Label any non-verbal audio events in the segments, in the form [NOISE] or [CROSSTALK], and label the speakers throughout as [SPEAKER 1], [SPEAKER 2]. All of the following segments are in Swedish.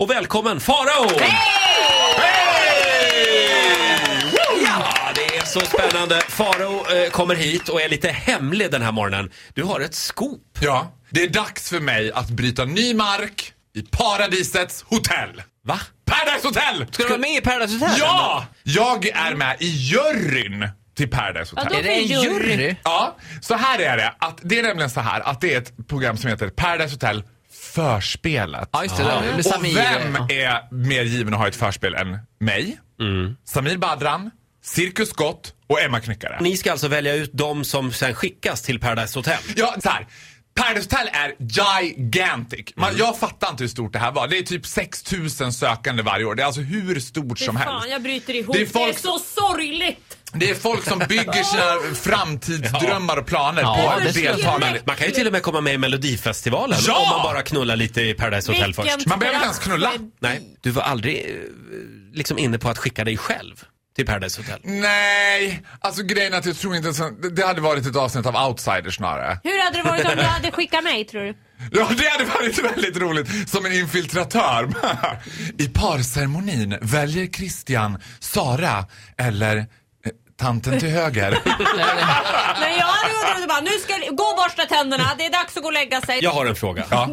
[SPEAKER 1] Och välkommen Farao! Hej! Ja, det är så spännande. Farao eh, kommer hit och är lite hemlig den här morgonen. Du har ett scoop.
[SPEAKER 2] Ja, det är dags för mig att bryta ny mark i paradisets hotell.
[SPEAKER 1] Va?
[SPEAKER 2] Paradise Hotel!
[SPEAKER 3] Ska du vara med i Paradise Hotel?
[SPEAKER 2] Ja! Jag är med i juryn till Paradise Hotel.
[SPEAKER 3] Är det en jury?
[SPEAKER 2] Ja, så här är det. Att, det är nämligen så här att det är ett program som heter Paradise Hotel Förspelet. Ah.
[SPEAKER 3] Ja, just det. Där. Med
[SPEAKER 2] Och
[SPEAKER 3] Samir.
[SPEAKER 2] vem
[SPEAKER 3] Ja.
[SPEAKER 2] är mer given att ha ett förspel än mig,
[SPEAKER 3] Mm.
[SPEAKER 2] Samir Badran, Cirkus Scott och Emma Knyckare?
[SPEAKER 1] Ni ska alltså välja ut de som sen skickas till Paradise Hotel.
[SPEAKER 2] Ja, så här. Paradise Hotel är gigantic. Man,
[SPEAKER 3] Mm.
[SPEAKER 2] Jag fattar inte hur stort det här var. Det är typ 6000 sökande varje år. Det är alltså hur stort som
[SPEAKER 4] Fy fan,
[SPEAKER 2] helst.
[SPEAKER 4] jag bryter ihop.
[SPEAKER 2] Det
[SPEAKER 4] Det
[SPEAKER 2] är
[SPEAKER 4] är,
[SPEAKER 2] folk-
[SPEAKER 4] så sorgligt!
[SPEAKER 2] Det är folk som bygger sina framtidsdrömmar och planer
[SPEAKER 3] Ja,
[SPEAKER 2] på
[SPEAKER 3] det skulle jag
[SPEAKER 4] tro.
[SPEAKER 2] deltagarna.
[SPEAKER 1] Man kan ju till och med komma med i Melodifestivalen
[SPEAKER 2] Ja!
[SPEAKER 1] om man bara knullar lite i Paradise Hotel
[SPEAKER 4] Vilken
[SPEAKER 1] först.
[SPEAKER 2] Man behöver inte ens knulla.
[SPEAKER 1] Nej, du var aldrig eh, liksom inne på att skicka dig själv till Paradise Hotel.
[SPEAKER 2] Nej, alltså grejen är att jag tror inte ens... Det hade varit ett avsnitt av Outsiders snarare.
[SPEAKER 4] Hur hade det varit om du hade skickat mig tror du?
[SPEAKER 2] Ja, det hade varit [LAUGHS] väldigt roligt. Som en infiltratör. [LAUGHS] I parceremonin väljer Christian Sara eller eh, tanten till höger.
[SPEAKER 4] Men jag hade undrat om du bara, nu ska jag- gå och borsta tänderna, det är dags att gå och lägga sig.
[SPEAKER 1] Jag har en fråga.
[SPEAKER 2] Ja.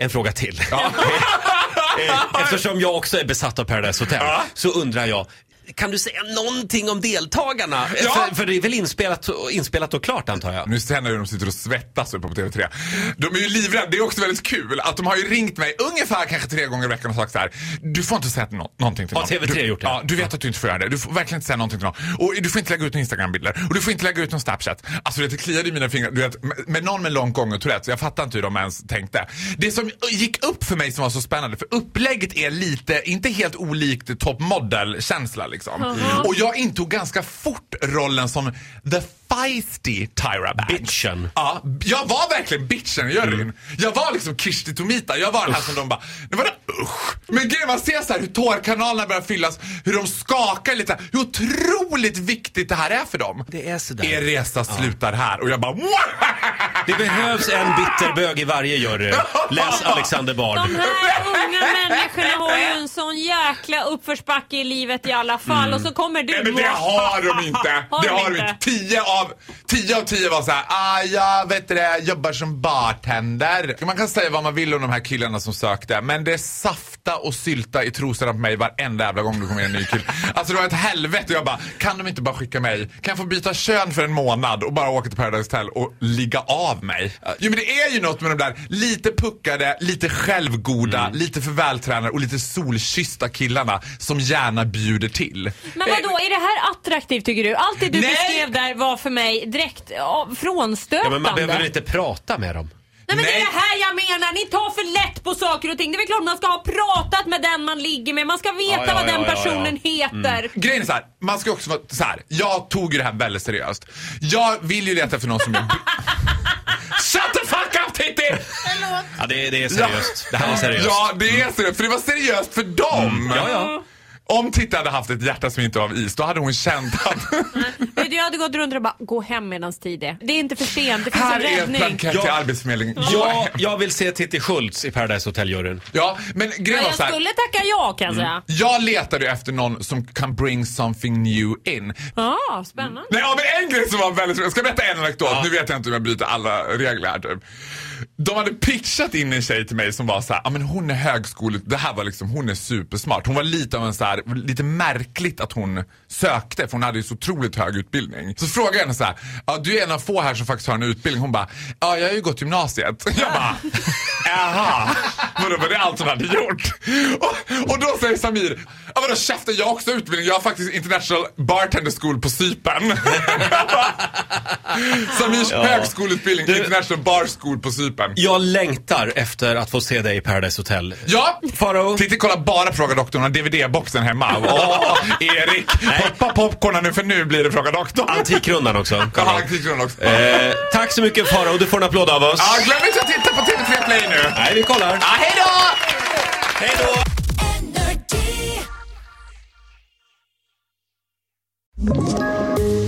[SPEAKER 1] En fråga till. [LAUGHS] Eh, Eftersom jag också är besatt av Paradise Hotel
[SPEAKER 2] Ja.
[SPEAKER 1] så undrar jag, kan du säga någonting om deltagarna?
[SPEAKER 2] Ja.
[SPEAKER 1] För, för det är väl inspelat, och- inspelat och klart antar jag?
[SPEAKER 2] Nu ser jag när de sitter och svettas uppe på TV3. De är ju livrädda. Det är också väldigt kul att de har ju ringt mig ungefär kanske tre gånger i veckan och sagt så här. Du får inte säga nå- någonting till
[SPEAKER 1] Har
[SPEAKER 2] någon.
[SPEAKER 1] TV3
[SPEAKER 2] du,
[SPEAKER 1] gjort det?
[SPEAKER 2] Ja, du vet att du inte får göra det. Du får verkligen inte säga någonting till någon. Och du får inte lägga ut några Instagram-bilder. Och du får inte lägga ut någon Snapchat. Alltså du vet, det kliade i mina fingrar. Du vet, med, med någon med långt gång och Tourettes. Jag fattar inte hur de ens tänkte. Det som gick upp för mig som var så spännande, för upplägget är lite, inte helt olikt Top Model-känsla liksom. Och jag intog ganska fort rollen som the feisty Tyra Banks.
[SPEAKER 1] Bitchen.
[SPEAKER 2] Ja, jag var verkligen bitchen i juryn. Jag var liksom Kirsti Tomita. Jag var den här som de bara, det var det, usch. Men grejen man ser så här hur tårkanalerna börjar fyllas, hur de skakar lite, hur otroligt viktigt det här är för dem.
[SPEAKER 1] Det är sådär.
[SPEAKER 2] Er resa slutar här och jag bara
[SPEAKER 1] Det behövs en bitterbög i varje jury. Läs Alexander Bard.
[SPEAKER 4] De här unga människorna har ju en sån jäkla uppförsbacke i livet i alla fall
[SPEAKER 1] Mm.
[SPEAKER 4] och så kommer du
[SPEAKER 2] Nej men det har de inte!
[SPEAKER 4] [LAUGHS] Har
[SPEAKER 2] det
[SPEAKER 4] de
[SPEAKER 2] har de
[SPEAKER 4] inte?
[SPEAKER 2] inte. Tio av, tio av tio var såhär, ah, jag vet du det, jobbar som bartender. Man kan säga vad man vill om de här killarna som sökte, men det är safta och sylta i trosorna på mig varenda jävla gång det kommer en ny kille. Alltså det var ett helvete och jag bara, kan de inte bara skicka mig? Kan jag få byta kön för en månad och bara åka till Paradise Hotel och ligga av mig? Jo men det är ju något med de där lite puckade, lite självgoda, lite för vältränade och lite solkyssta killarna som gärna bjuder till.
[SPEAKER 4] Men vadå, är det här attraktivt tycker du? Allt det du
[SPEAKER 2] Nej!
[SPEAKER 4] beskrev där var för mig direkt ja,
[SPEAKER 1] Ja,
[SPEAKER 4] frånstötande.
[SPEAKER 1] men man behöver väl inte prata med dem?
[SPEAKER 4] Nej men det
[SPEAKER 2] Nej.
[SPEAKER 4] är det här jag menar, ni tar för lätt på saker och ting. Det är väl klart man ska ha pratat med den man ligger med, man ska veta
[SPEAKER 1] Ja, ja,
[SPEAKER 4] vad den
[SPEAKER 1] ja, Mm. ja,
[SPEAKER 4] personen heter.
[SPEAKER 1] [LAUGHS]
[SPEAKER 2] Grejen är så här, man ska också vara så här. jag tog ju det här väldigt seriöst. Jag vill ju leta efter någon som är...
[SPEAKER 1] [LAUGHS]
[SPEAKER 2] Shut the fuck up Titti!
[SPEAKER 1] Ja, det, det är seriöst. Det här var seriöst. Mm.
[SPEAKER 2] Ja, det är seriöst. För det var seriöst för dem.
[SPEAKER 1] Ja, ja.
[SPEAKER 2] Om Titti hade haft ett hjärta som inte var av is, då hade hon
[SPEAKER 1] [LAUGHS]
[SPEAKER 2] känt att
[SPEAKER 1] Alltså,
[SPEAKER 4] Vet du, Jag hade gått runt och bara, gå hem medan tid är. Det är inte för sent, det
[SPEAKER 2] [LAUGHS]
[SPEAKER 4] finns
[SPEAKER 2] här
[SPEAKER 4] en
[SPEAKER 2] är en
[SPEAKER 4] räddning.
[SPEAKER 2] blankett till
[SPEAKER 1] Ja.
[SPEAKER 2] Arbetsförmedlingen.
[SPEAKER 1] Jag, jag vill se Titti Schultz i Paradise Hotel-juryn.
[SPEAKER 2] Ja, men
[SPEAKER 4] Ja,
[SPEAKER 2] grejen var
[SPEAKER 4] jag
[SPEAKER 2] så här.
[SPEAKER 4] skulle tacka ja kan jag
[SPEAKER 1] Mm.
[SPEAKER 4] säga.
[SPEAKER 2] Jag letade ju efter någon som kan bring something new in.
[SPEAKER 4] Ja, spännande.
[SPEAKER 2] Nej, ja, men en grej som var väldigt Jag ska berätta en anekdot. Nu vet jag inte om jag bryter alla regler här typ. De hade pitchat in en tjej till mig som var så här, ja men hon är högskolet. Det här var liksom, hon är supersmart. Hon var lite av en så här, lite märkligt att hon sökte för hon hade ju så otroligt hög utbildning. Så frågade jag henne så här, ja du är en av få här som faktiskt har en utbildning. Hon bara, ja jag har ju gått gymnasiet. [LAUGHS] Jag bara, jaha. Vadå var det allt hon hade gjort? Och, och då säger Samir, ja vadå käften jag har också utbildning. Jag har faktiskt International Bartender School på Cypern. [LAUGHS] Samirs högskoleutbildning, International Bar School på Cypern.
[SPEAKER 1] Jag längtar efter att få se dig i Paradise Hotel.
[SPEAKER 2] Ja!
[SPEAKER 1] Faro?
[SPEAKER 2] Titti kollar bara Fråga doktorn, har DVD-boxen hemma. Åh, Erik! Poppa popcornen nu för nu blir det Fråga doktorn.
[SPEAKER 1] Antikrundan också.
[SPEAKER 2] [LAUGHS] Ja, han klickar den också. Ja,
[SPEAKER 1] Eh, tack så mycket Farao, du får en applåd av oss.
[SPEAKER 2] glöm inte att titta på TV3 Play nu.
[SPEAKER 1] Nej, vi kollar.
[SPEAKER 2] Ja, hej då!
[SPEAKER 1] Hej då!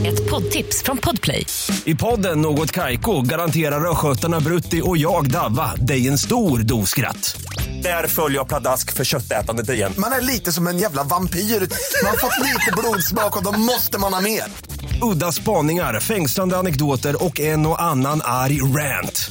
[SPEAKER 5] Ett poddtips från Podplay.
[SPEAKER 6] I podden Något Kaiko garanterar östgötarna Brutti och jag, Davva, dig en stor dos skratt. Där följer jag pladask för köttätandet igen.
[SPEAKER 7] Man är lite som en jävla vampyr. Man har fått lite blodsmak och då måste man ha mer.
[SPEAKER 6] Udda spaningar, fängslande anekdoter och en och annan arg rant.